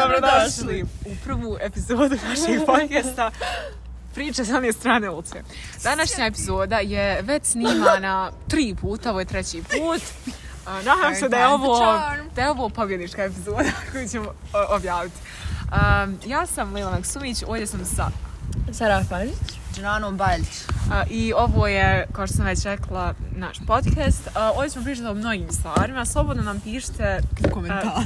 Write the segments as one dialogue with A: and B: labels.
A: Dobrodošli u prvu epizodu našeg podcasta Priče sa one strane ulice. Današnja epizoda je već snimana tri puta, ovo je treći put. A, Nadam se da je ovo, da je ovo pobjednička epizoda koju ćemo o, objaviti. Um, ja sam Lila Maksumić, ovdje sam sa
B: Sara Farić.
C: Džanom Baljić.
A: A, I ovo je, kao što sam već rekla, naš podcast. A, Ovdje smo pričali o mnogim stvarima. Slobodno nam pišite
B: U komentarima.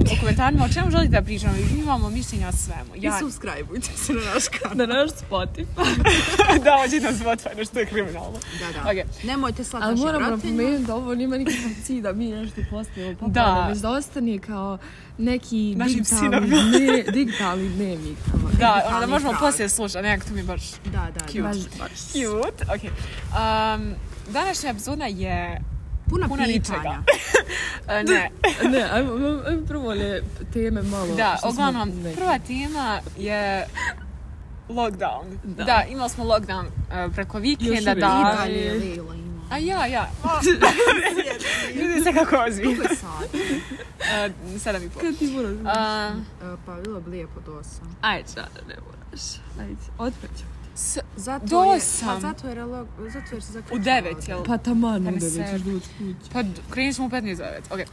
A: u komentarima o čemu želite da pričamo. Mi imamo mišljenja o svemu. Ja,
B: I subscribeujte se na naš kanal. Na naš Spotify.
A: da, ođe nas Spotify, nešto je kriminalno.
C: Da, da.
A: Okej.
C: Nemojte slati
B: Ali
C: naše
B: moram
C: bratelje.
B: napomenuti da ovo nima nikakav cilj da mi nešto postavimo pa
A: Da.
B: da. već da ostane kao neki
A: Našim
B: digitalni,
A: sinovima.
B: ne, digitalni dnevnik. Ono.
A: Da,
C: Digitalni
A: onda da možemo
C: trag.
A: poslije slušati, a nekako to mi je baš
C: Da, da,
A: Cute.
C: da.
B: Baš,
A: cute. Okay. Um, današnja epizoda je...
C: Puna,
A: Puna
C: pitanja.
A: ničega. e, ne,
B: Ne, ajmo, ajmo, ajmo prvo one teme malo.
A: da,
B: što smo
A: uglavnom,
B: neke-
A: prva tema je lockdown. Da,
B: Da.
A: imali smo lockdown e, preko vikenda,
B: uvijek.
A: da.
B: I
C: Dalje
B: Ali-
C: Lila ima.
A: A ja, ja. A, Ljudi se kako ozbiljno.
C: Koliko je sat?
A: Uh, sedam i pol.
B: Kad ti moraš?
A: Uh,
C: E, Pa bilo bi lijepo do osam.
B: Ajde, Sara, ne moraš. Ajde, otpeću.
A: s,
C: Zato
A: Do
C: je-
A: osam?
C: Pa zato jer, je log- zato jer se zaključava.
A: u devet, jel? Pa,
B: Pa taman,
A: Pa ne
B: onda već
A: ser.
B: ćeš doći kući.
A: pa d- krenut ćemo u 15 za devet, okej.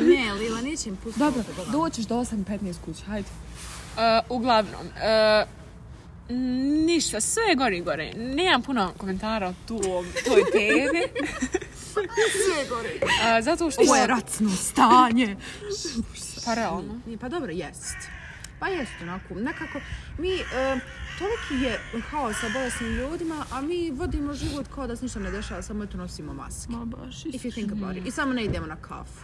C: Ne, ne, Lila, nećem pustiti.
B: Dobro,
C: opet.
B: doćeš do 8.15 kući, hajde.
A: A, uh, uglavnom, uh, ništa, sve je gore i gore. Nemam puno komentara o tu, o toj temi.
C: Sve je gore.
A: Uh, zato što...
C: Ovo je ratno stanje.
A: Pa realno.
C: Nije, pa dobro, jest. Pa jest onako, nekako, mi, e, toliki je haos sa bolesnim ljudima, a mi vodimo život kao da se ništa ne dešava, samo eto nosimo maske.
B: Ma baš
C: If you think about it. I samo ne idemo na kafu.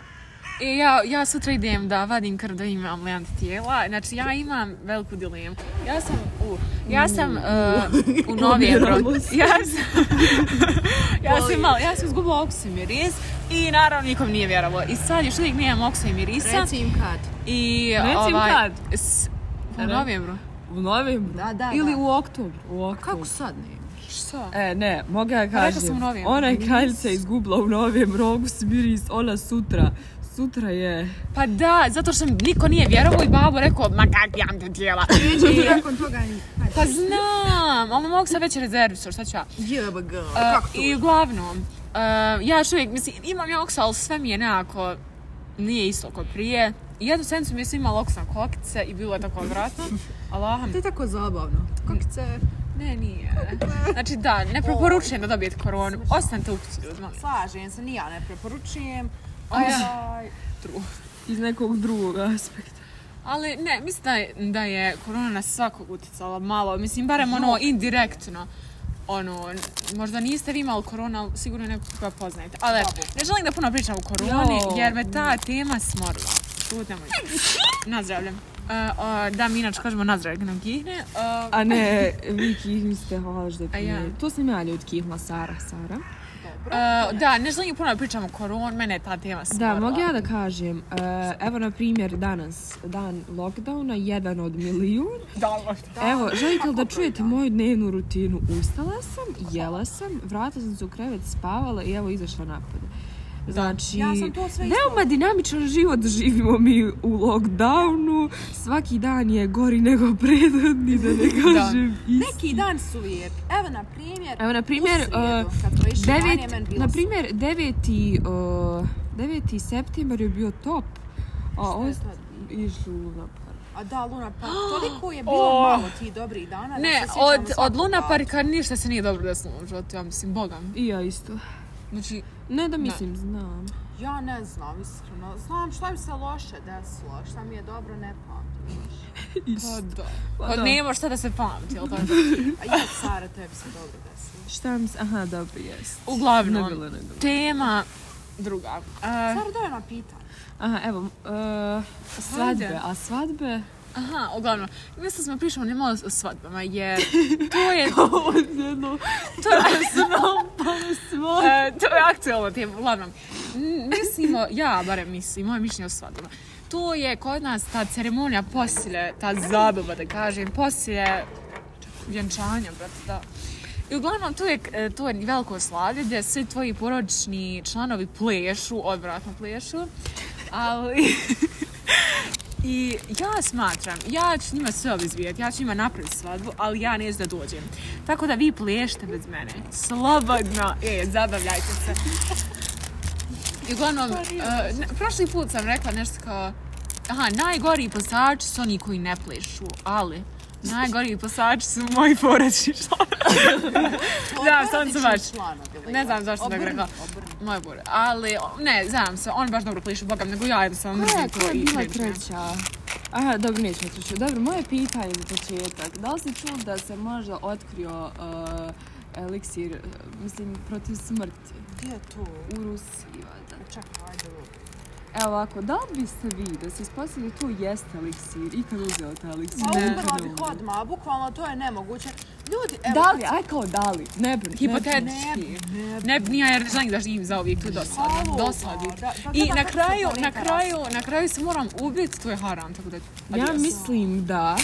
A: I ja, ja sutra idem da vadim krv da imam li antitijela. Znači, ja imam veliku dilemu. Ja sam u... Ja sam uh, u novembru.
B: Ubiramo se.
A: Ja sam... ja sam imala... Ja sam izgubila oksimiris i naravno nikom nije vjerovalo. I sad još uvijek nemam oksimirisa.
C: Reci im kad.
A: I
B: Reci im
A: ovaj...
B: kad?
A: s- u
B: Re-
A: novembru.
B: U novembru?
C: Da, da,
B: Ili
C: da.
B: u oktobru. U oktobru.
C: Kako sad ne?
A: Što?
B: E, ne, mogu ja
A: Pa rekla
B: kažem.
A: sam u novembru.
B: Ona je kraljica izgubila u novembru, august miris, ona sutra. Sutra je...
A: Pa da, zato što niko nije vjerovao i babo rekao, ma kak ja ti tijela.
C: Neće Znači, nakon toga ni...
A: Pa znam, ali ne mogu sad već rezervisati, šta ću ja.
C: JBG,
A: E,
C: Pa kako to?
A: I uglavnom, e, ja još uvijek, mislim, imam ja oksa, ali sve mi je nekako, nije isto kao prije. I jednu sedmicu mi je imala oksa kokice i bilo je tako odvratno. Allah,
C: To je tako zabavno. Kokice,
A: ne, nije. Znači da, ne preporučujem da dobijete koronu. Ostanite u kući, ljudi, molim.
C: slažem se, ni ja ne preporučujem.
A: A ja.
C: Ovaj,
B: Iz nekog drugog aspekta.
A: Ali ne, mislim da je, da je korona na svakog utjecala malo, mislim barem ono indirektno. Ono, n- možda niste vi imali korona, ali sigurno je neko koga poznajete. Ali eto, ne želim da puno pričam o koroni,
B: Jo.
A: jer me ta tema smorila. Šut, nemoj. Na zdravlje. E, o, da, mi inače kažemo na zdravlje, nam gihne. E,
B: A ne, vi kihmiste, hvala što
A: A ja?
B: je To sam ja ljud kihla, Sara, Sara.
A: e, da, ne želim puno da pričam o koroni, mene je ta tema smorila.
B: Da, mogu ja da kažem, e, evo na primjer danas, dan lockdowna, jedan od milijun.
A: Da, možda.
B: Evo, želite li da čujete moju dnevnu rutinu? Ustala sam, jela sam, vratila sam se u krevet, spavala i evo izašla napolje. Znači,
C: Ja sam to sve isto-
B: veoma dinamičan život živimo mi u lockdownu. Svaki dan je gori nego prethodni, da ne kažem. isti.
C: Neki dan su lijepi. Evo, na primjer,
B: Evo, na primjer,
C: u srijedu,
B: uh,
C: kad smo išli vani, je meni
B: Devet,
C: bilo
B: na primjer, 9. Uh, 9. septembar je bio top. A
C: Šta je
B: ovo
C: tad
B: išli u Luna Park.
C: super. A da, Luna Park, toliko je bilo
A: O.
C: malo tih dobrih dana. da
A: Ne,
C: se sjećamo
A: od,
C: svakog
A: od Luna
C: dana.
A: Parka ništa se nije dobro desilo u životu, ja mislim, bogam.
B: I ja isto.
A: Znači,
B: Ne da mislim, znam.
C: Ja ne znam, iskreno. Znam šta mi se loše desilo, šta mi je dobro, ne pamtim.
A: pa da.
B: Pa
A: Pa
B: da.
A: nema šta da se pamti, jel tako?
C: A ja, Sara, tebi se dobro desilo.
B: Šta mi se... Aha, dobro, jest. Ne
A: Uglavnom,
B: bilo, ne bilo.
A: tema druga. E,
C: Sara, daj ona pitanje.
B: Aha, evo, uh, svadbe. A svadbe?
A: aha, uglavnom, mislim smo pričamo ne malo o svadbama, jer to je,
B: Ovo je jedno...
A: to je,
B: Svadbe.
A: e, to je aktualna tema, uglavnom. m, Mislimo, ja barem mislim, moje mišljenje o svadbama. To je kod nas ta ceremonija posilje, ta zabava da kažem, posilje vjenčanja, brate, da. I uglavnom, tu je, e, to je veliko slavlje gdje svi tvoji porodični članovi plešu, odvratno plešu, ali... I I ja smatram, ja ću njima sve obizvijeti, ja ću njima napraviti svadbu, ali ja neću da dođem. Tako da vi plešte bez mene. Slobodno. E, zabavljajte se. I uglavnom, e, ne- prošli put sam rekla nešto kao, aha, najgori posači su oni koji ne plešu, ali najgori posači su moji porodični članovi. da, sam se baš. Ne znam zašto sam tako rekla. Moje bure. Ali, o, ne, znam se, oni baš dobro plešu, bogam, nego ja jednostavno
B: Koja
A: mrzim
B: je,
A: to
B: koja je
A: i
B: bila
A: ne-
B: treća? Aha, dobro, nećemo treću. Dobro, moje pitanje za početak. Da li si čuo da se možda otkrio uh, eliksir, uh, mislim, protiv smrti
C: Gdje je to?
B: u Rusiji? valjda?
C: Čekaj, ajde.
B: Evo E, ovako, da li biste vi, da se ispostavili to jeste eliksir, ikad uzeo taj eliksir?
C: A
B: Nikad
C: umrla
B: ne
C: bih
B: uzeo.
C: odmah, bukvalno to je nemoguće. Ljudi, evo...
B: Da li, aj kao da li, ne bi. ne bi.
A: Hipotetički. Ne, nije, jer želim da živim za uvijek tu dosadno.
C: Ovo,
A: Dosadno.
C: da, da,
A: I
C: da,
A: na
C: da,
A: kraju,
C: da,
A: na
C: da,
A: kraju, na kraju se moram ubiti, to je haram, tako da...
B: Pa Ja
A: adios.
B: mislim da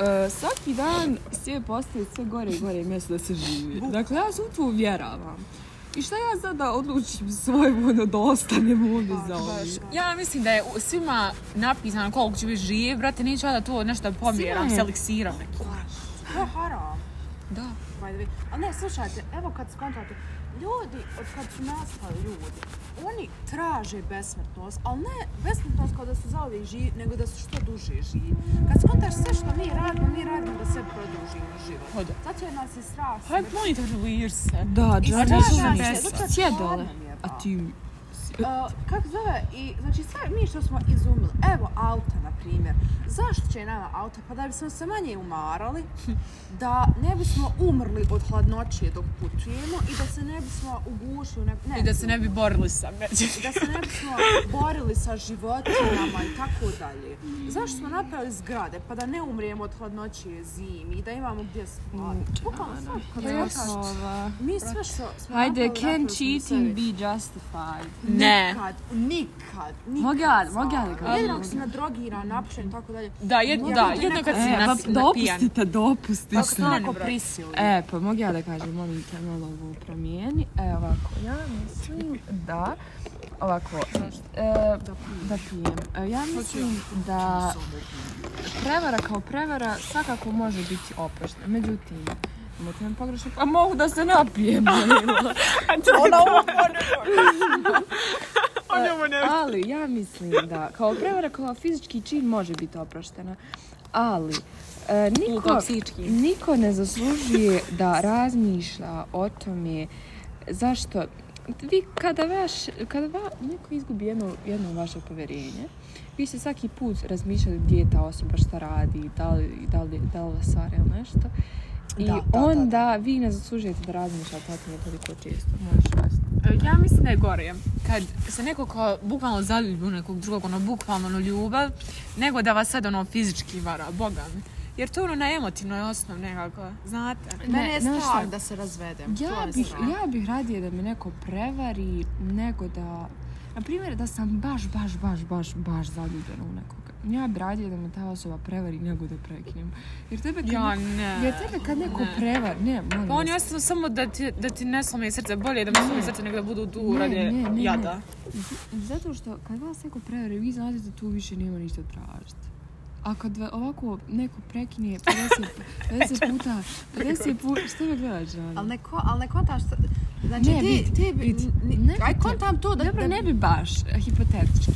B: e, svaki dan sve postaje sve gore i gore mjesto da se živi. Dakle, ja se u to uvjeravam. I šta ja sad da odlučim svojevoljno da ostanem ovdje
C: Pa,
B: za ovdje?
A: Ja mislim da je u- svima napisano koliko ću biti živ, brate, neću ja da to nešto pomjeram,
B: Svima je.
A: seleksiram. neki.
C: To je haram.
A: Da.
C: By the way. A ne, slušajte, evo kad skontate, ljudi, od kad su nastali ljudi, oni traže besmrtnost, ali ne besmrtnost kao da su zauvijek živi, nego da su što duže živi. Kad skontaš sve što mi radimo, mi radimo da se produžimo
A: Pa
C: život.
A: da.
C: Zato Pa je nas i strah.
A: Hajde,
C: smrti.
A: molim te, želiš se.
B: Da,
C: I
B: Džana,
A: strašan
B: želim
A: je,
B: se.
C: zato što
B: Sjedale.
C: hladno mi je,
B: A
C: da.
B: ti...
C: Uh, kako zove, i znači sve mi što smo izumili, evo auta na primjer, zašto će nama auta? Pa da bismo se manje umarali, da ne bismo umrli od hladnoće dok putujemo i da se ne bismo ugušili, ne, ne,
A: I da se ne bi borili sa međe.
C: i da se ne bismo borili sa životinjama i tako dalje. Zašto smo napravili zgrade? Pa da ne umrijemo od hladnoće zimi i da imamo gdje spavati. Bukvalno sve, kada
B: Ja
C: Pa ja kažem, mi sve što smo
B: Hajde,
C: napravili,
B: can
C: napravili smo sebi.
B: cheating be justified?
A: Ne.
C: Nikad, nikad, nikad.
B: Mogu ja- mogu ja da kažem?
C: Jedino ako si na drogira, napušen i tako dalje.
A: Da, jed,
C: Mogu
A: da,
C: ti
A: jedno
C: neko-
A: kad si
B: E,
A: na,
B: pa
A: napijan.
B: dopustite,
C: Ako te
B: dopustite.
A: Stani,
C: neko
A: brate.
C: prisili.
B: E, pa mogu ja da kažem, molim te, malo ovo promijeni. E, ovako, ja mislim da... Ovako, e, da pijem. E, ja mislim da prevara kao prevara svakako može biti oprošna. Međutim, možda me pogrešno, pa mogu da se napijem. molim vas.
A: Ona ovo Ona ovo ne...
B: Ali ja mislim da kao prevara kao fizički čin može biti oproštena. Ali, e,
A: U,
B: niko...
A: kao psički.
B: Niko ne zaslužuje da razmišlja o tome zašto vi kada vaš, kada va, neko izgubi jedno, jedno vaše povjerenje, vi ste svaki put razmišljali gdje je ta osoba, šta radi, da li, da li, da li vas stvara ili nešto. I
C: Da, da, da,
B: onda
C: da.
B: vi ne zaslužujete da razmišljate o tome toliko često. Možeš vas.
A: Ja mislim da je gore kad se neko kao bukvalno zaljubi u nekog drugog, ono bukvalno ono ljubav, nego da vas sad ono fizički vara, boga mi. Jer to je ono na emotivnoj osnovi nekako, znate?
C: Mene je
B: Ne, znaš
C: strah
B: šta?
C: da se razvedem. to
B: Ja
C: je
B: bih,
C: strah.
B: ja bih radije da me neko prevari nego da... Na primjer, da sam baš, baš, baš, baš, baš zaljubljena u nekoga. Ja bih radije da me ta osoba prevari nego da prekinem. Jer tebe kad,
A: Ja
B: neko,
A: ne.
B: jer tebe kad neko
A: Ne.
B: prevari... Ne, molim
A: Pa oni
B: vas.
A: ostanu samo da ti, da ti ne slome srce bolje, da mi slome srce nego da budu tu
B: Ne,
A: radi
B: ne, ne,
A: jada.
B: Zato što kad vas neko prevari, vi znate da tu više nema ništa tražiti. A kad va- ovako neko prekine 50, 50 puta, 50 puta, što me gledaš, Žana?
C: Ali ne, ko, ali ne kontaš... sa- Znači,
B: Ne,
C: ti,
B: vidi,
C: ti bi...
B: vidi.
C: ni-
B: Ne,
C: aj,
B: ne.
C: kontam to da...
B: Dobro,
C: da
B: ne bi baš, hipotetički.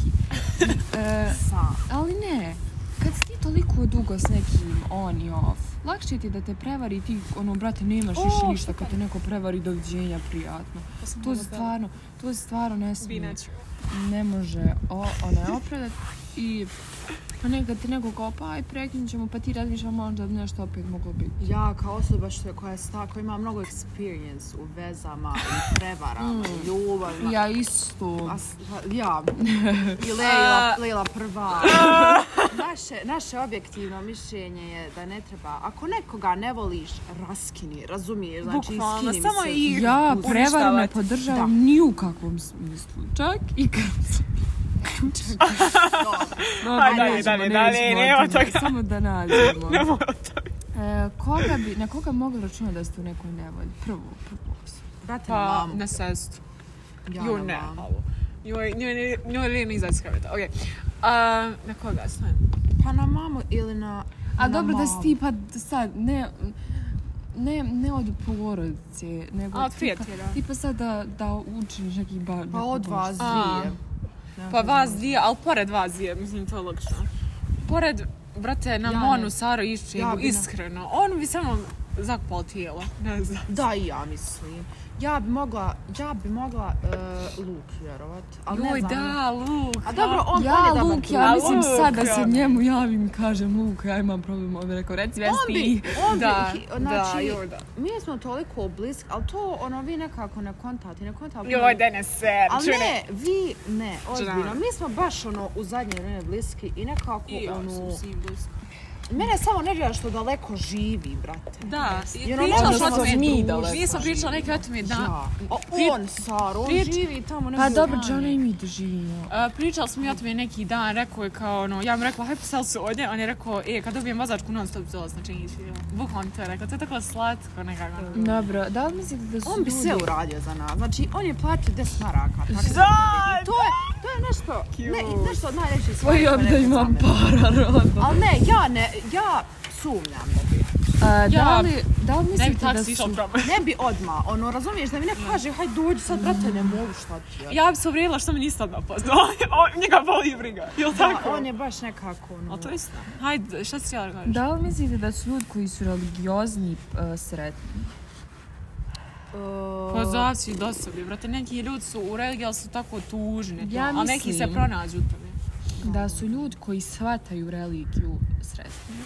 B: E,
C: Sa.
B: Ali ne, kad si ti toliko dugo s nekim on i off, lakše ti je da te prevari ti, ono, brate, nemaš
A: O,
B: više ništa kad te neko prevari, doviđenja, prijatno. To se stvarno, to se stvarno ne smije, ne može o, ona opravdat i pa nekad ti neko kao, pa aj prekinut ćemo, pa ti razmišljaš možda bi nešto opet moglo biti.
C: Ja kao osoba što, koja, je sta, koja ima mnogo experience u vezama i prevarama i ljubavima.
B: Mm. Ja isto.
C: A s- pa, ja. I Leila, Leila prva. Naše, naše objektivno mišljenje je da ne treba, ako nekoga ne voliš, raskini, razumiješ, znači
A: Bukvalno,
C: skini mi
A: samo
C: se.
B: Ja
A: i- Uništavati.
B: prevaru ne podržavam
C: Da.
B: ni u kakvom smislu. Čak i kad
C: Dobro.
B: No,
A: Aj, dalje,
B: nađemo,
A: dalje,
B: ne
A: dalje,
B: idemo
A: nema
B: o tome,
A: toga.
B: Samo da nađemo. E, koga bi, na koga mogu računati da ste u nekoj nevolji? Prvo, prvo.
C: Brate, na
A: Pa,
C: mamu.
A: na sestru.
C: Ja
A: Ju
C: na
A: ne,
C: mamu.
A: ovo. Njoj, njoj, njoj, njoj nije izaći iz kreveta. Okej. A, na koga stajem?
C: Pa na mamu ili na...
B: A
C: na
B: dobro da
C: mamu.
B: si ti pa sad, ne, ne, ne od porodice, nego
A: A, od
B: tipa-
A: prijatelja.
B: Tipa sad da, da učiniš neki ba...
C: Pa
B: neku
C: od
B: baš-
C: vas
A: A.
C: dvije.
A: Pa vas dvije, ali pored vas dvije, mislim to je logično. Pored, brate, na
B: Ja ne.
A: Monu, Saro Iščingu,
C: Ja bi na-
A: iskreno, on bi samo zakpao tijelo, ne znam.
C: Da, i ja mislim. Ja bi mogla, ja bi mogla e, Luk vjerovat, ali ne
A: Joj,
C: znam.
A: da, Luk.
C: A dobro, on,
B: Ja,
C: on je dobar
B: Luk,
C: klinac.
B: ja
A: A,
B: mislim sad da se
A: Luka.
B: njemu javim, kažem Luk, ja imam problem, on bi rekao, reci vesti.
C: On bi, on
A: Da,
C: bi, hi-
A: da,
C: znači,
A: joj da.
C: mi smo toliko bliski, ali to ono vi nekako ne kontate, ne kontate.
A: Joj, Denis, ser,
C: Ali
A: čune.
C: ne, vi ne, ozbiljno.
A: Čuna.
C: Mi smo baš ono u zadnje vrijeme bliski i nekako
A: I ja
C: ono...
A: sam svim bliska.
C: Mene samo nervira što daleko živi, brate.
A: Da, i
C: Jer ono
A: pričali smo
C: ono što
A: o
C: smo
A: tome,
B: mi
A: mi
B: daleko
A: nismo pričali neke o tome, da.
C: Ja. O,
A: Pri-
C: on, Saro, on
A: prič-
C: živi tamo ne
B: Pa
C: znam.
B: dobro, John i mi doživimo.
A: A, pričali smo i o tome neki dan, rekao je kao ono, ja mu rekla, hajde posel se ovdje, on je rekao, e, kad dobijem vozačku non stop zola, znači nisi, bukvalno to je rekao, to je tako slatko nekako.
B: Dobro, da li mislite da su
C: On bi
B: ljudi-
C: sve uradio za nas. Znači, on je platio 10 maraka. Tako da- I to je, to je nešto, ne,
A: Cute.
C: nešto od najljepših stvari koje
B: Tvoj Pa da
C: neko
B: imam
C: zameni.
B: para, roba.
C: Ali ne, ja ne, ja sumnjam da bi.
B: A, da
A: Ja-
B: li, da li
A: Ne bi
B: mislite da
A: taksi išao
B: su...
A: problem.
C: Ne bi odmah, ono, razumiješ da mi neko kaže, hajde dođi sad, brate, ne mogu šta ti je.
A: Ja bi se uvrijedila što me niste odmah poznala, On- njega boli briga, jel
C: Da,
A: tako?
C: on je baš nekako, ono,
A: Ali to je istina. Hajde, šta si htjela da kažeš?
B: Da li mislite da su ljudi koji su religiozni e, sretni?
C: e,
A: Pa zavisi do sebe, brate, neki ljudi su u religiji, ali su tako tužni,
B: Ja
A: a neki se
B: mislim-
A: pronađu u tome.
B: Da su ljudi koji shvataju religiju sretni?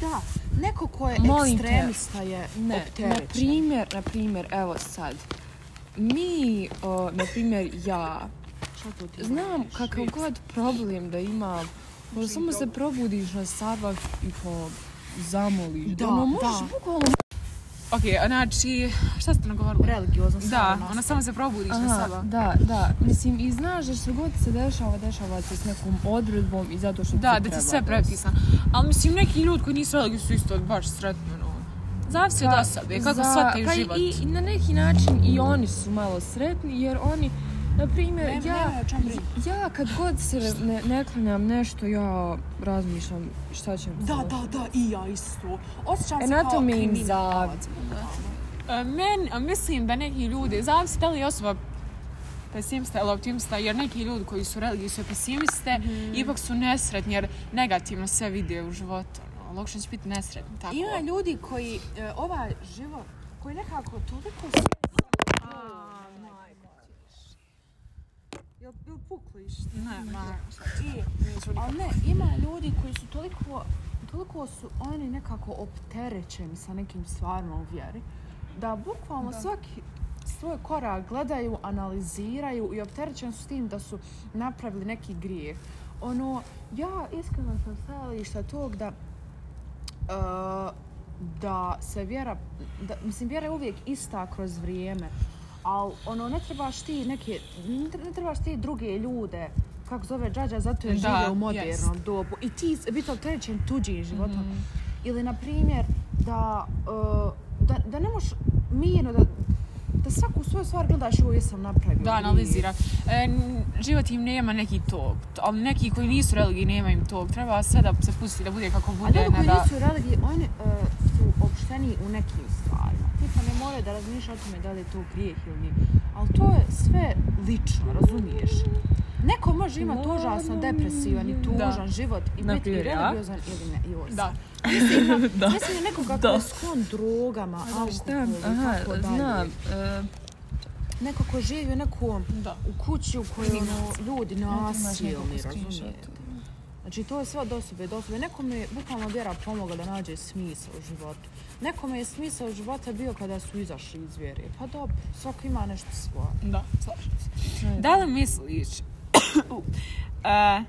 C: Da, neko ko je
B: Molim te.
C: ekstremista je
B: Ne, na
C: opterećen.
B: primjer, na primjer, evo sad, mi, o, na primjer, ja,
C: Šta to ti
B: znam kakav god problem da imam, možda samo se probudiš na sabah i kao zamoliš.
C: Da,
B: ono, možeš
C: da.
B: bukvalno
A: Ok, znači, šta ste nagovorili?
C: Religiozno
A: Da, ona samo se probudiš na
B: Aha,
A: saba.
B: da, da. Mislim, i znaš da što god se dešava, dešava se s nekom odredbom i zato što
A: Da,
B: ti
A: da ti
B: treba
A: sve
B: da se-
A: prepisano. Ali mislim, neki ljudi koji nisu veliki su isto baš sretni, ono. Zavisi od osobe, E, kako
B: Pa, za-
A: shvataju
B: pa i-
A: život.
B: I, na neki način i oni su malo sretni, jer oni, na primjer,
C: Nema-
B: ja,
C: nemaju o čem brinuti.
B: ja kad god se ne, ne klanjam nešto, ja razmišljam šta ćemo
C: Da, da, da, i ja isto. Osjećam
B: E,
C: se
B: na
C: kao
B: to mi je
C: kriminalac.
A: E, Men, a mislim da neki ljudi, zavisi da li je osoba pesimista ili optimista, jer neki ljudi koji su religiji su pesimiste,
C: Mhm.
A: ipak su nesretni jer negativno sve vide u životu. Ono. Lakše će biti nesretni, tako.
C: Ima ljudi koji e, ovaj život, koji nekako toliko su... Jel, jel puklo išta?
A: Ne, ma,
C: I, ali ne, ima ljudi koji su toliko, toliko su oni nekako opterećeni sa nekim stvarima u vjeri, da bukvalno svaki svoj korak gledaju, analiziraju i opterećeni su s tim da su napravili neki grijeh. Ono, ja iskreno sam stajališta tog da e, da se vjera, da, mislim vjera je uvijek ista kroz vrijeme, ali ono ne trebaš ti neke, ne tre- ne trebaš ti druge ljude, kako zove džađa, zato je
A: Da,
C: žive u modernom
A: jest. Mhm.
C: dobu i ti s- biti opterećen tuđim životom. Ili na primjer da, e, da, da ne možeš mirno, da, da svaku svoju stvar gledaš ovo jesam napravio.
A: da analizira. E, n- život im nema neki tog, ali neki koji nisu religiji nema im tog. Treba sve da se pusti da bude kako
C: A
A: bude.
C: ljudi
A: ne
C: koji
A: da...
C: nisu u religiji, oni e, su opšteniji u nekim stvarima. Tipa ne moraju da razmišljaju o tome da li je to grijeh ili nije. Ali to je sve lično, razumiješ? Neko može imati užasno depresivan i tužan
A: Da.
C: život i biti i
B: Naprimjer, ja.
C: religiozan ili ne. Joj,
A: Da.
B: da.
C: Mislim na nekoga ko je sklon drogama,
B: Šta?
C: alkoholu
B: Aha,
C: i tako dalje.
B: znam. e,
C: Neko ko živi u nekom
A: Da.
C: u kući u kojoj ono, ljudi nasilni,
B: nekog
C: razumijete.
B: screenshota.
C: Znači to je sve od osobe do osobe. Nekome je bukvalno vjera pomogla da nađe smisao u životu. Nekome je smisao života bio kada su izašli iz vjere. Pa dobro, svako ima nešto svoje.
A: Da, slažem se.
C: Mhm.
B: Ajde.
A: Da li misliš... U, e,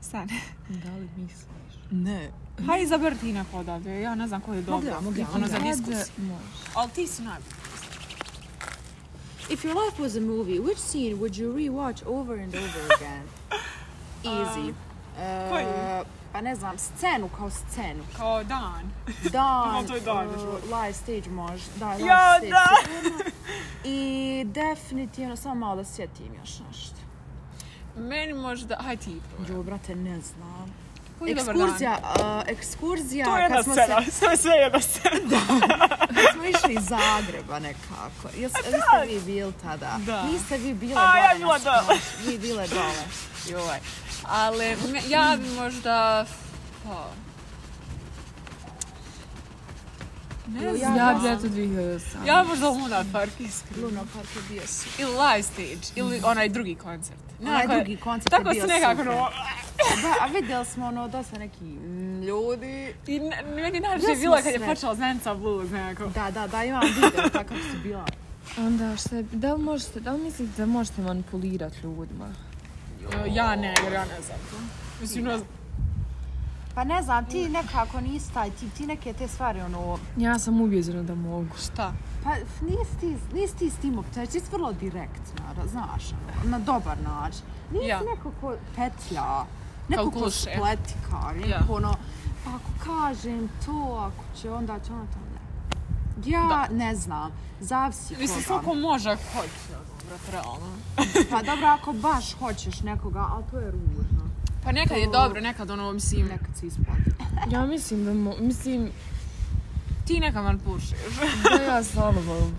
A: Stan,
B: da li misliš?
C: Ne.
A: hajde izaber ti neko odavde, ja ne znam ko je
C: Mogu
A: dobro.
C: ja, mogu ja,
A: Ono
C: mogu
A: za
C: ja.
A: diskus.
B: Kad možeš?
A: Ali ti si najbolji.
C: If your life was a movie, which scene would you rewatch over and over again? Easy. E,
A: koji?
C: pa ne znam, scenu kao scenu.
A: Kao dan.
C: Dan,
A: No, to je dan,
C: e,
A: znači, ovo-
C: live stage može. Da, live
A: Ja,
C: stage
A: da.
C: sigurno. I definitivno, samo malo da sjetim još nešto.
A: Meni možda, aj ti probaj.
C: Jo, brate, ne znam.
A: Koji je dobar dan?
C: Ekskurzija, a, ekskurzija,
A: To je jedna
C: kad smo, se,
A: scena, sve je sve jedna scena.
C: kad smo išli iz Zagreba nekako. Jes, vi ste vi bili tada?
A: Da.
C: Niste vi bile
A: A, ja
C: dole,
A: bila
C: naša
A: dole.
C: noć, Vi bile dole.
A: Joj. Ali me- ja bi možda... Pa. Ne
C: Jo,
A: znam.
B: Ja bi eto 2008.
A: Ja bi možda Luna Park iskreno.
C: Luna Park je bio super.
A: Ili Live Stage, ili onaj drugi koncert.
C: Onaj
A: Onako je-
C: drugi koncert je
A: Tako
C: bio
A: se nekako ono-
C: super.
A: no,
C: Da, a vidjeli smo ono dosta neki mm, ljudi.
A: I ne- meni
C: Ja
A: najviše je
C: sam
A: bilo kad je
C: sve.
A: počela Zenica Blues nekako.
C: Da, da, da, imam video kako su bila.
B: Onda šta, je- da li možete, da li mislite da možete manipulirati ljudima?
A: E, Ja ne, jer ja ne znam. to. Mislim, ne znam.
C: Pa ne znam, ti nekako nisi taj tip, ti neke te stvari ono...
B: Ja sam ubijeđena da mogu.
A: Šta?
C: Pa f- nisi ti, nisi ti s tim opterećen, ti si vrlo direktna, ra- znaš, ono, na dobar način. Nisi
A: Ja.
C: neko ko petlja, neko ko
A: guše.
C: spletika, neko
A: Ja.
C: ono... Pa ako kažem to, ako će, onda će ono to ne. Ja ne znam, zavisi
A: Mislim,
C: koga.
A: svako može ako hoće, ono, brate, realno.
C: Pa dobro, ako baš hoćeš nekoga, ali to je ružno.
A: Pa nekad je dobro, nekad ono, mislim,
C: Nekad se isplati.
B: Ja mislim da mo, mislim
A: ti nekad manipulišeš.
B: da Pa ja slabo volim.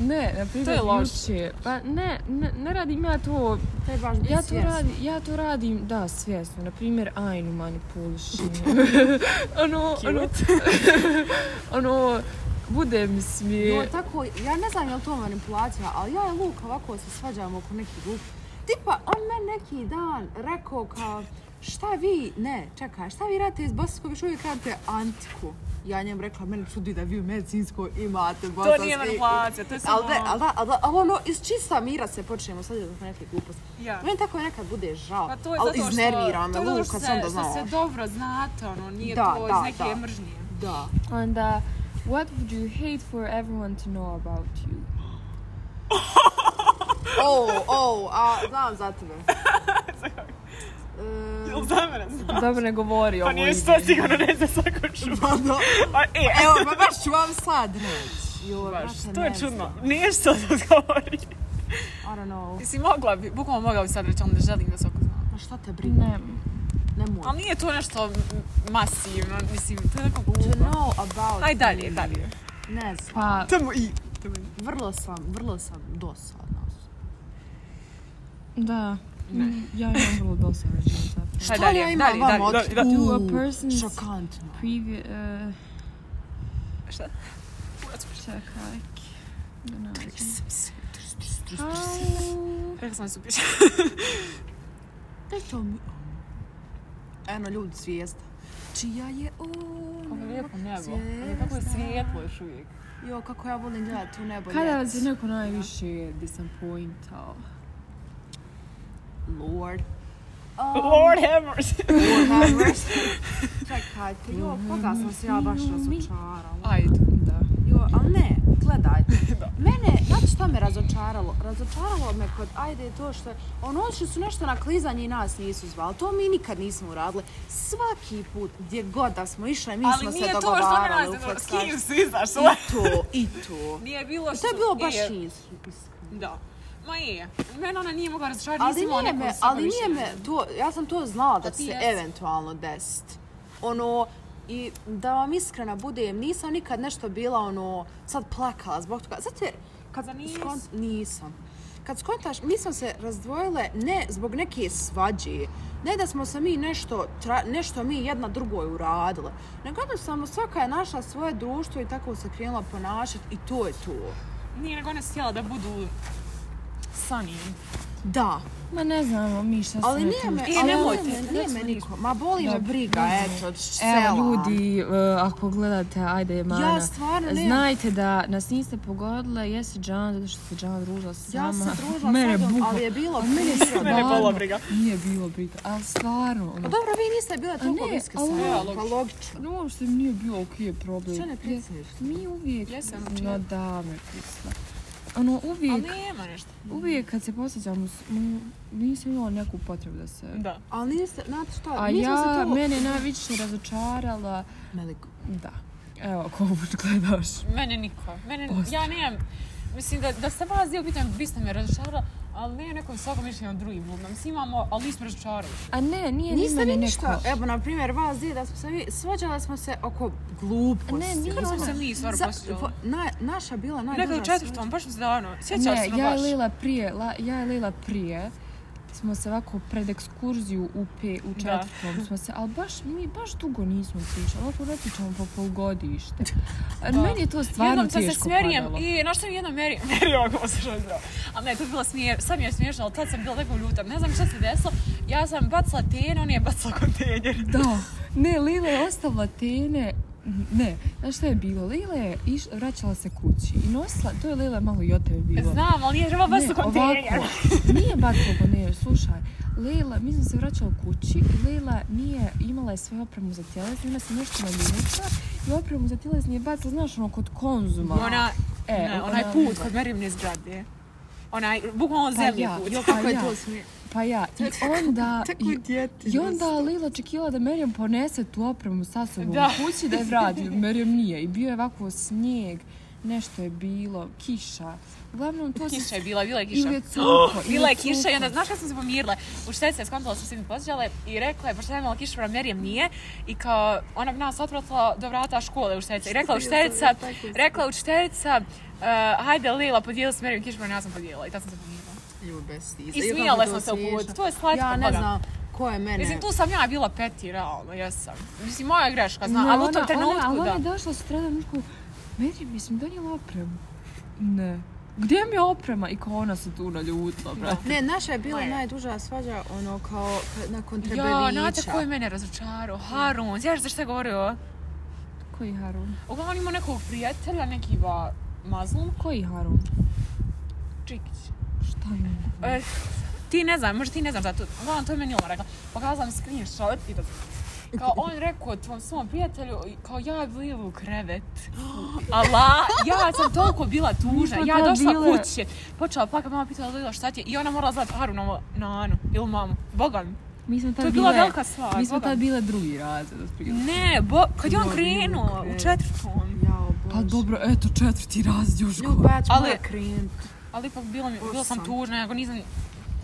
B: Ne, na primjer,
A: To je loše.
B: juče- Pa ne, ne, ne radim ja to
C: To je baš biti
B: Ja to,
C: svjesna.
B: radim, ja to radim, da, svjesno. Na primjer, Ainu manipulišim. ono, ono, ono, bude mi
C: Jo,
B: smije.
C: tako, ja ne znam je li to manipulacija, ali ja i Luka ovako se svađamo oko nekih glup. Tipa, on meni neki dan rekao kao, šta vi, ne, čekaj, šta vi radite iz Bosanskog, još uvijek radite antiku. Ja njem rekla, mene čudi da vi u medicinskoj imate bosanski.
A: To nije manipulacija, to je samo...
C: Ali ne, ali da, ali da, ali ono, iz čista mira se počnemo sad oko neke gluposti.
A: Ja.
C: Meni tako nekad bude žao,
A: Pa to je
C: ali
A: zato što...
C: iznervira me,
A: to je zato
C: Luka,
A: što
C: sam
A: se-
C: da znao.
A: Što se dobro znate, ono, nije
C: Da,
A: to
C: da,
A: iz neke
C: da.
A: mržnje.
C: Da.
B: Onda, what would you hate for everyone to know about you?
C: O, o, a znam za tebe. E,
A: Ili za mene znaš?
B: Dobro ne govori
A: Pa
B: ovo
A: nije
B: ide.
A: što sigurno ne za svaku čudu.
C: pa da.
A: Pa e,
C: Evo, pa baš ću vam sad reći.
A: baš,
C: Joj, brate,
A: to je
C: ne
A: čudno.
C: znam.
A: Nije što da odgovori.
C: I don't know.
A: Mislim, mogla bi, bukvalno mogla bi sad reći, ali ne želim da svako zna.
C: Ma šta te briga?
B: Ne,
C: Ne mogu.
A: Ali nije to nešto m- masivno, mislim, to je neko
C: To
A: glupo.
C: know about
A: Aj dalje,
C: me.
A: dalje.
C: Ne znam. Pa
B: pa,
A: Tamo i...
C: Vrlo sam, vrlo sam dosadna. osoba.
B: da.
A: Ne.
B: Ja imam vrlo dosta reći zapravo.
A: Aj
C: Šta
A: Pa dalje,
C: ja imam
A: dalje,
C: vam
A: dalje,
C: otkriti?
A: dalje.
B: To a
C: Uuu,
B: person's-
C: Šokantno.
B: Previous, uh,
A: Šta?
B: čekaj. Da nađem.
A: Rekla sam da su piš.
C: Daj to mi. Eno, ljudi, zvijezda. Čija je ona?
A: Kako je lijepo nebo.
C: Zvijezda.
A: Kako je svijetlo još uvijek.
C: Jo, kako ja volim gledati to nebo.
B: Kada
C: ljeti.
B: vas je neko najviše disappointao?
C: Lord. Oh,
A: Lord Hammers.
C: Hammers. Čekajte, jo, koga sam se ja baš razočarala.
A: Ajde.
B: Da.
C: Jo, ali ne, gledajte. Mene, znači šta me razočaralo? Razočaralo me kod, ajde, to što, ono, odšli su nešto na klizanje i nas nisu zvali. To mi nikad nismo uradili. Svaki put, gdje god da smo išli, mi
A: Ali
C: smo
A: nije
C: se
A: to što mi
C: dogovarali u
A: nas ne s kim
C: podcastu.
A: si izašla.
C: I to, i to.
A: Nije bilo
C: I
A: što...
C: to je bilo baš
A: je.
C: nisu, iskreno.
A: Da. Ma je. Mene ona nije mogla razočarati,
C: Ali
A: nisam imala
C: nije
A: neko
C: me,
A: s kime
C: ali
A: više
C: nije
A: ne
C: me,
A: znam.
C: to, ja sam to znala da
A: A
C: će
A: ti
C: se
A: jesi.
C: eventualno desit. Ono, i da vam iskrena budem, nisam nikad nešto bila ono, sad plakala zbog toga. Zato jer, kad
A: Da nisi?
C: skont- nisam. Kad skontaš, mi smo se razdvojile ne zbog neke svađe, ne da smo se mi nešto, tra- nešto mi jedna drugoj uradile, nego jednostavno svaka je našla svoje društvo i tako se krenula ponašati i to je to.
A: Nije nego ona sjela da budu... Sunny.
C: Da,
B: Ma ne znamo mi šta se
C: Ali
B: ne
C: nije me,
A: E,
C: ali
A: nemojte,
C: nije me-
A: ne
C: nije me niko. Ma boli me
B: Da,
C: briga,
B: ne
C: eto, od sela.
B: Evo ljudi, e, ako gledate, ajde Mana,
C: Ja stvarno ne-
B: znajte da nas niste pogodile, jesi Džan, zato što se Džan družila sama.
C: Ja sam se družila
B: Mene
C: s tobom,
B: bukva-
C: ali je bilo
B: Mene
C: prirodno.
A: Mene
B: stvarno
A: bola briga.
B: Nije bilo briga, ali stvarno.
C: Pa
B: Ono,
C: dobro, vi niste bile toliko
B: ne,
C: bliske sa
B: ali-
A: Ja,
C: mnom, pa
A: logično.
C: logično.
B: no, uopšte mi nije bio okej problem.
C: Šta ne
B: Ja-
C: prisješ?
B: Mi uvijek,
A: Jesam, čija?
B: no da me prisla. Ono,
A: Ali
B: uvijek,
A: nema nešto.
B: uvijek kad se posjećam, s- m, nisam imala neku potrebu da se...
A: Da.
C: Ali niste, znate šta,
B: A
C: mi smo se
B: ja,
C: tu...
B: mene je najviše razočarala,
C: Veliko.
B: da. Evo, ako ovo gledaš.
A: Mene niko. Mene,
B: Pozdrav.
A: ja nemam... Mislim, da, da sam vas dio pitanjem, vi ste me razočarala, ali ne nekom svakom mišljenju drugim ljudima. Mislim, imamo, ali nismo razočarali.
B: A ne, nije ni
C: Niste
B: mene
C: vi ništa,
B: neko-
C: evo, na primjer, vas dvije da smo se vi, svađale smo se oko gluposti.
B: Ne, nismo.
A: Prvo se mi stvarno
C: Za-
A: posjećali.
C: po- na- naša bila najduža
A: Nekad u
C: svađa.
A: četvrtom, baš mi se davno. Sjećala
B: Ne,
A: se ono
B: ja i
A: baš.
B: Lila prije, la, ja i Lila prije smo se ovako pred ekskurziju u, pe, u četvrtom smo se, ali baš, mi baš dugo nismo pričali, ovako retičamo po polgodište.
A: Da.
B: Meni je to stvarno
A: Jednom sam se
B: teško
A: smjerijem
B: padalo.
A: i na što mi jednom mjeri, mjerio ako se što je zdravo. Ali ne, to je bila smjer, sad mi je smiješno, ali tad sam bila tako ljuta. Ne znam šta se desilo, ja sam bacila ten, on je bacila kontejner.
B: Da, ne, Lila je ostavila tene, ne, znaš šta je bilo, Lila je iš, vraćala se kući i nosila, to je Lila malo i od tebe bilo.
A: Znam, ali nije treba
B: Ne,
A: bacila kontejner.
B: ovako, nije bacila kontejner, slušaj. Lila, mi smo se vraćali kući i Lila nije, imala je svoju opremu za tjelesni, ona se nešto naljubila i opremu za tjelesni je bacila, znaš, ono, kod konzuma.
A: Ona,
B: E,
A: ne,
B: ona-
A: onaj put kod Merimne zgrade. Onaj, bukvalno zemlji
B: ja,
A: put. Ili
B: pa
A: kako je
B: ja.
A: to smije?
B: Pa ja, i onda... i-
C: djeti.
B: I onda Lila očekivala da Merjem ponese tu opremu sa sobom
A: Da.
B: u kući da je vrati. Merjem nije. I bio je ovako snijeg, nešto je bilo, kiša. Uglavnom to se...
A: Kiša je bila, bila je kiša. Oh,
B: Ili je cuko, ili
A: Bila je
B: je
A: kiša i
B: cuko.
A: onda, znaš kad sam se pomirila? U štetica je skontala sam se mi posjećale i rekla je, pošto je imala kišu, merijem nije. I kao, ona bi nas otpratila do vrata škole u štetica. I rekla učiteljica, rekla učiteljica, uh, hajde Lila, podijeli s merijem kišu, i ja sam podijelila. I tad sam se pomirila.
C: Ljube stiza.
A: I smijale smo se u putu. To je slatko.
C: Ja ne
A: Boga.
C: znam ko je mene.
A: Mislim, tu sam ja bila peti, realno, jesam. Mislim, moja je greška,
B: Ne,
A: znam, ali u
B: ona-
A: tom trenutku,
B: ona, ali
A: da.
B: ona je došla sutradan i rekao, Meri, mislim, donijela opremu. Ne. Gdje mi je oprema? I kao ona se tu naljutila, brate.
C: Ne, naša je bila
A: Moja.
C: najduža svađa, ono, kao kad- nakon Trebevića.
A: Ja, znate ko je mene razočarao? Harun, znaš zašto je govorio?
B: Koji Harun?
A: Uglavnom imao nekog prijatelja, neki va mazlum,
B: Koji Harun?
A: Čikić.
B: Šta je on?
A: E, ti ne znam, možda ti ne znam zato. Uglavnom, to je meni ona rekla. Pokazala mi screenshot i to Kao on rekao tvom svom prijatelju, i kao ja bi bila u krevet. Ala, ja sam toliko bila tužna.
B: Mi smo
A: Ja
B: tad
A: došla
B: bile-
A: kući, počela plakat, mama pitala Lila šta ti je. I ona morala zvati Harunovo nanu ili mamu. Boga mi.
B: Mi smo
A: To je
B: tad
A: bila
B: Pa bile...
A: velika stvar.
B: Mi smo
A: Boga
B: tad
A: mi.
B: bile drugi razred, otprilike.
A: Ne, bo, kad je on
C: Boga mi,
A: krenuo
C: krevet.
A: u četvrtom.
C: Jao, Bože.
B: Pa dobro, eto, četvrti razred još
C: Ljuba, ja ću
A: Ali-
C: moja krenut.
A: Ali ipak bilo mi, bila sam
C: Osam.
A: tužna, ja ga nisam,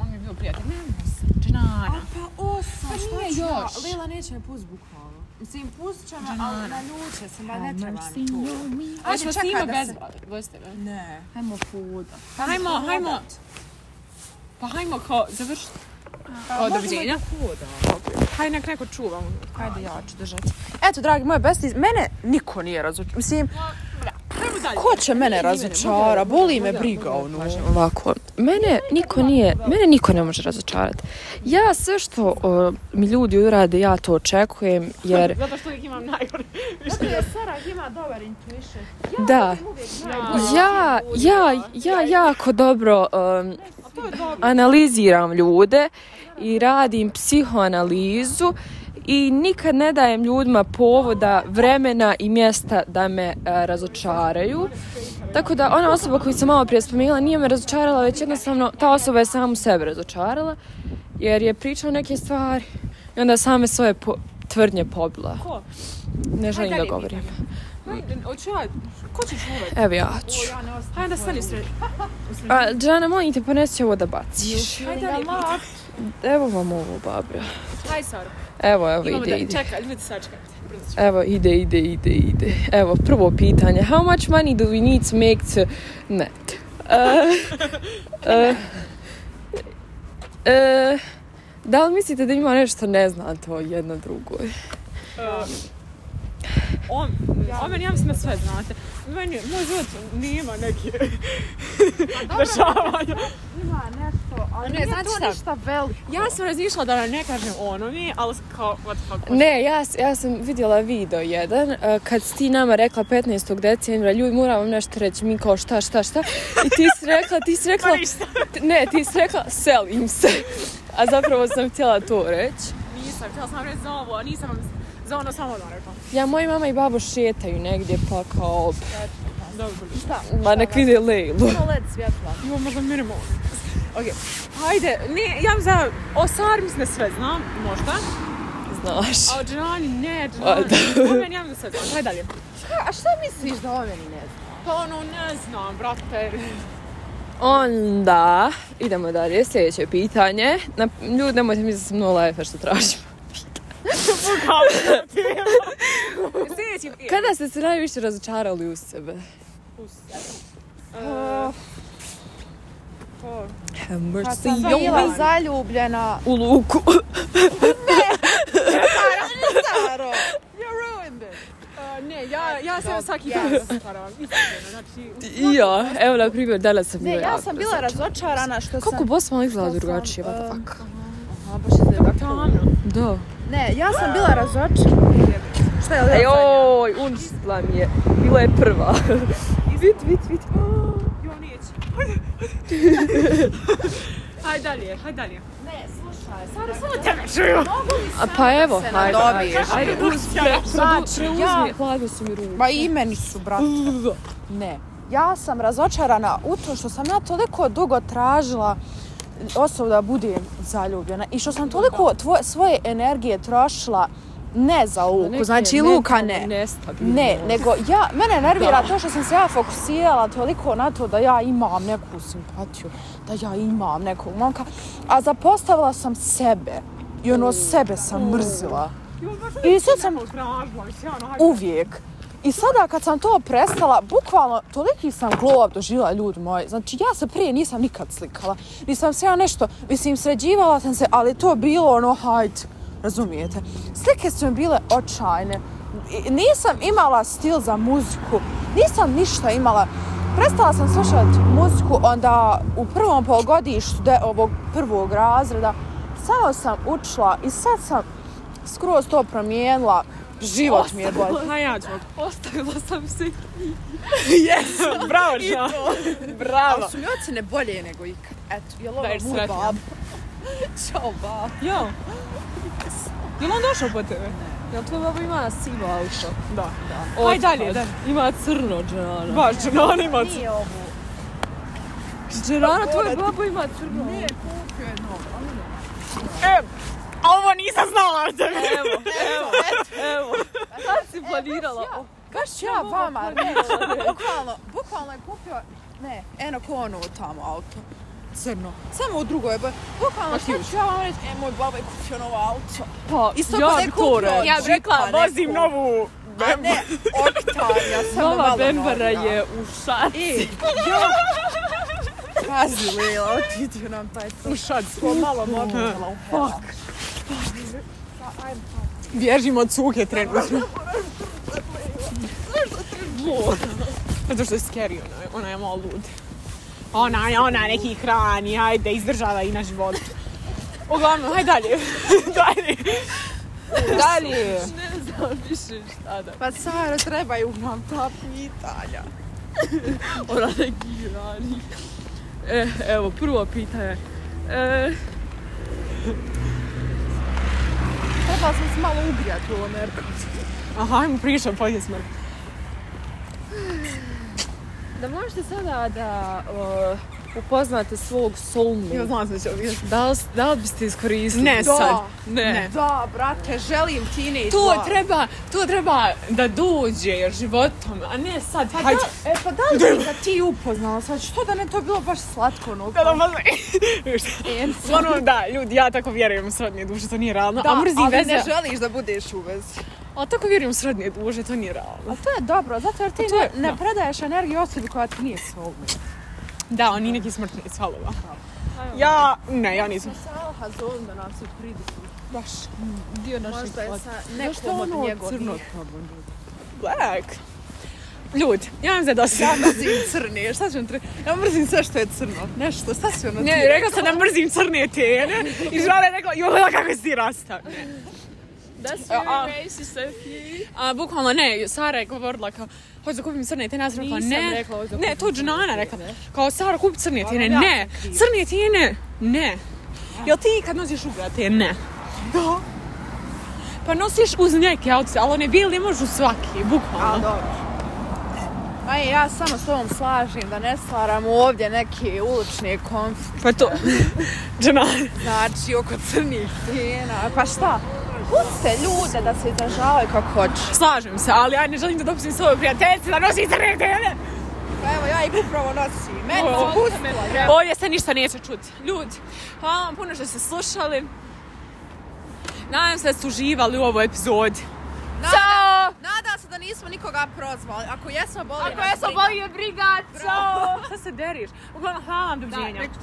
A: on mi je bio prijatelj. Ne, ne, Čenana.
C: pa osam,
A: Pa
C: šta
A: nije
C: ću ja?
A: još.
C: Lila neće me pust bukvalno. Mislim, pustit će me,
A: Džanana.
C: ali naljute sam, da ne
B: Have
C: trebam
B: mercy
C: to.
B: on me.
A: Ajde,
C: Ajde,
A: ćemo
C: čekaj
A: snima
C: da
A: bez
C: se-
A: gosteve.
C: Ne.
B: Hajmo povoda.
A: Pa hajmo,
C: Hodat.
A: hajmo. Pa hajmo kao završiti.
C: možemo
A: Kao doviđenja.
C: i hodat.
A: Hajde nek neko čuvamo.
C: Ajde, ja ću držati. Eto, dragi moje besties, mene niko nije razočarao. Mislim,
A: Hajmo dalje.
C: ko će mene razočara? Boli me briga, ono.
B: Ovako, mene niko nije, mene niko ne može razočarati. Ja sve što o, mi ljudi urade, ja to očekujem, jer
A: Zato što uvijek imam najgore.
C: Zato jer Sara ima dobar intuition.
B: da, ja, ja, ja jako dobro um, analiziram ljude i radim psihoanalizu i nikad ne dajem ljudima povoda, vremena i mjesta da me e, razočaraju. Tako da ona osoba koju sam malo prije spomenula nije me razočarala, već jednostavno ta osoba je samu sebe razočarala jer je pričala neke stvari i onda same svoje po- tvrdnje pobila.
A: Ko?
B: Ne želim da
A: dalje
B: govorim.
A: Hoću ja, ko će čuvati?
B: Evo ja ću.
C: Ja ne ostavim.
A: Hajde da stani sred.
B: A, Džana, molim te, ponesi ovo da baciš.
A: Hajde dalje.
B: Evo vam ovo, babra.
A: Hajde Saro.
B: Evo, evo,
A: Imamo
B: ide,
A: da,
B: ide.
A: čekaj, ljudi sačekajte. Brzo ću.
B: Evo, ide, ide, ide, ide. Evo, prvo pitanje. How much money do we need to make to... Ne. E, e, e, da li mislite da ima nešto ne zna to jedno drugo?
A: Uh, on, o meni, ja mislim da sve znate. Meni, moj život nema neke Pa dešavanja.
C: Ima nešto, ali
A: Ne, znači
C: nije
A: znate
C: to
A: šta?
C: ništa veliko.
A: Ja sam razmišljala da ne kažem ono mi, ali kao, what the fuck.
B: Ne, ja, s- ja sam vidjela video jedan e, kad si ti nama rekla 15. decembra, ljudi moram vam nešto reći, mi kao šta, šta, šta. I ti si rekla, ti si rekla,
A: Pa ništa.
B: T- Ne, ti si rekla selim se. A zapravo sam htjela to reći.
A: Nisam, htjela sam reći za ovo, a nisam vam za ono samo da rekla.
B: Ja, moji mama i babo šetaju negdje, pa kao...
A: Dobro.
C: Šta?
B: Ma nek vide Lejlu.
C: Ima led svjetla.
A: Imam možda minimalno. Ok, hajde, ne, ja mislim da o Sari mislim da sve znam, možda.
B: Znaš.
A: A o Džani ne,
B: A,
A: Džani.
B: da.
A: O meni ja mislim da sve znam, hajde dalje.
C: A šta misliš da o meni ne zna?
A: Pa ono, ne znam, brate.
D: Onda, idemo dalje, sljedeće pitanje. Na, ljudi, nemojte misliti da sam nula life što tražim.
A: Sljedeći prijatelj.
D: Kada ste se najviše razočarali u sebe? Pa,
C: Eh,
D: Have mercy
C: pa. sam
D: on
C: bila
D: me.
C: zaljubljena.
D: U luku.
C: Staro.
A: Ne, ja, ja sebe svaki dan razočaravam. Iskreno, znači...
D: I ja, evo na primjer, danas sam
C: Ne,
D: bila
C: ja
D: jako
C: sam bila
D: razočarana.
C: razočarana što sam...
D: Kako Bosman izgleda
C: sam, eh,
D: drugačije, what the
C: em,
D: fuck?
C: Aha, baš je
A: Tamno.
D: Da.
C: Ne, ja sam bila razočarana. Šta je ovo?
D: Joj, uništila mi je. Bila je prva. Vid, vid, vid.
A: Jo, neće. Hajde dalje, hajde dalje.
C: Ne, slušaj, stvarno samo
A: Tebe čuju.
D: A pa evo,
C: se
D: hajde, hajde,
C: nadobiješ.
D: hajde, uzme,
C: Znači,
D: preuzmi,
C: ja-
D: hladno su mi ruke.
C: Ma i meni su, brate. Ne. Ja sam razočarana u to što sam ja toliko dugo tražila osobu da budem zaljubljena i što sam toliko tvoje, svoje energije trošila ne za Luku, znači Luka ne.
D: Nestabilno.
C: Ne, nego ja, mene nervira to što sam se ja fokusirala toliko na to da ja imam neku simpatiju, da ja imam nekog momka, a zapostavila sam sebe i ono sebe sam mrzila. I sad sam
A: Tražila, sjano, hajde.
C: uvijek. I sada kad sam to prestala, bukvalno toliki sam glow up doživjela ljudi moji. Znači ja se prije nisam nikad slikala. Nisam se ja nešto, mislim sređivala sam se, ali to je bilo ono hajde, razumijete. Slike su mi bile očajne. I- Nisam imala stil za muziku, nisam ništa imala. Prestala sam slušati muziku onda u prvom polugodištu de- ovog prvog razreda. Samo sam učila i sad sam skroz to promijenila. Život mi je bolji.
A: Ha, Pa ja ću.
D: Ostavila sam se.
A: Bravo, žao.
C: Ali su mi ocjene bolje nego ikad. Eto, jel ovo
D: Da, jer
C: moj
D: sretna.
C: bab? Ćao bab.
A: Jo. Jel on došao po tebe?
D: Jel tvoj baba ima sivo auto?
A: Da.
D: Otpad.
A: Aj dalje, dalje.
D: Ima crno džerana.
A: Baš, no, nema se.
C: Nije ovo.
D: Džerana, tvoj baba ima crno. Ne.
A: Ovo nisam znala o tebi.
D: Evo, evo, evo. Sad si planirala.
C: baš ja.
D: O,
C: Baš ja vama reći. Bukvalno, bukvalno je kupio, ne, eno ko ono tamo auto. Crno. Samo u drugoj boji. Bukvalno, šta ću ja vam reći? E, moj baba je kupio novo auto.
D: Pa,
C: Isto
D: ja
C: ko da je
D: bi to
C: kupio
D: rekla.
A: Ja bih rekla,
C: Župa neku.
A: vozim novu
C: A
A: Bembu.
C: ne, Octavia, samo
D: Nova
C: malo
D: Bembara
C: novija.
D: je u šaci.
C: I, jo. Pazi, Lila, otidio nam taj to.
A: U šaci.
C: Ko malo mobila u pola.
A: Bježim od cuke trenutno. Zato što je scary, ona, je- ona je malo lud. Ona, je- ona neki hrani, ajde, izdržava i na životu. Uglavnom, hajde dalje. dalje. Dalje.
D: Ne znam više šta da.
C: Pa Sara, trebaju nam ta pitanja.
D: Ona neki rani. E, evo, prvo pitanje. E,
C: Trebala sam se malo ugrijati u ovom Erkovcu.
A: Aha, ajmo pričam, pojde smrt.
D: da možete sada da o, upoznate svog soulmate.
A: Ja znam se će ovdje.
D: Da li, da li biste iskoristili?
A: Ne
C: Da.
A: sad.
D: Ne.
C: Da, brate, želim teenage
A: To
C: love.
A: treba, to treba da dođe životom, a ne sad,
C: Pa
A: hajde.
C: da, e, pa da li bi ga ti upoznala sad? Što da ne to je bilo baš slatko ono?
A: Da, da, pa Ono, da, ljudi, ja tako vjerujem u srodne duše, to nije realno. a mrzim
C: ali
A: veze.
C: ne želiš da budeš u vezi.
A: A tako vjerujem u srodne duše, to nije realno.
C: A to je dobro, zato jer ti
A: to je-
C: ne, ne
A: da.
C: predaješ energiju osobi koja ti nije svogna.
A: Da, oni neki smrtni svalova. Ja, ne, ja nisam.
C: Salha zovem da nam se pridusi.
A: Baš.
D: dio našeg
C: sa
D: Zašto je ono crno?
A: Black. Ljudi, ja vam za dosta.
C: Ja mrzim crne, šta ću vam tre... Ja mrzim sve što je crno, nešto, šta si ono
A: Ne, rekla sam da mrzim crne tene i žala je rekla, joj, kako si ti rasta. E,
D: That's
A: a-
D: very racist of you.
A: A, bukvalno ne, Sara je govorila kao, hoću da kupim crne tene, ja sam rekla,
D: Nisam
A: ne.
D: rekla, hoću da
A: ne,
D: kupim
A: to je Džanana
D: crne
A: rekla.
D: tene.
A: Kao, Sara, kupi crne tene,
C: ja
A: ne.
C: sam kriva.
A: Crne tene, ne. Jel ti kad nosiš ugrate? Ne.
C: Da.
A: Pa nosiš uz neke outfit, ali one bijele možeš u svaki,
C: A,
A: bukvalno.
C: dobro. Aj, ja samo s ovom slažem da ne stvaram ovdje neke ulične konflikte,
A: Pa to, Džanana.
C: znači oko crnih tijena, pa šta? Puste ljude da se izražavaju kako hoće.
A: Slažem se, ali ja ne želim da dopisim svoju prijateljicu da nosi crne tene.
C: Pa evo, ja ih upravo nosim. Meni
A: Ovo,
C: se
A: ovo
C: pustila. ja.
A: Ovdje se ništa neće čuti. Ljudi, hvala vam puno što ste slušali. Nadam se da ste uživali u ovoj epizodi. Ćao!
C: Nadam se da nismo nikoga prozvali. Ako jesmo, boli nas briga.
A: briga, čao! Šta se deriš? Uglavnom, hvala vam, doviđenja.
C: nek-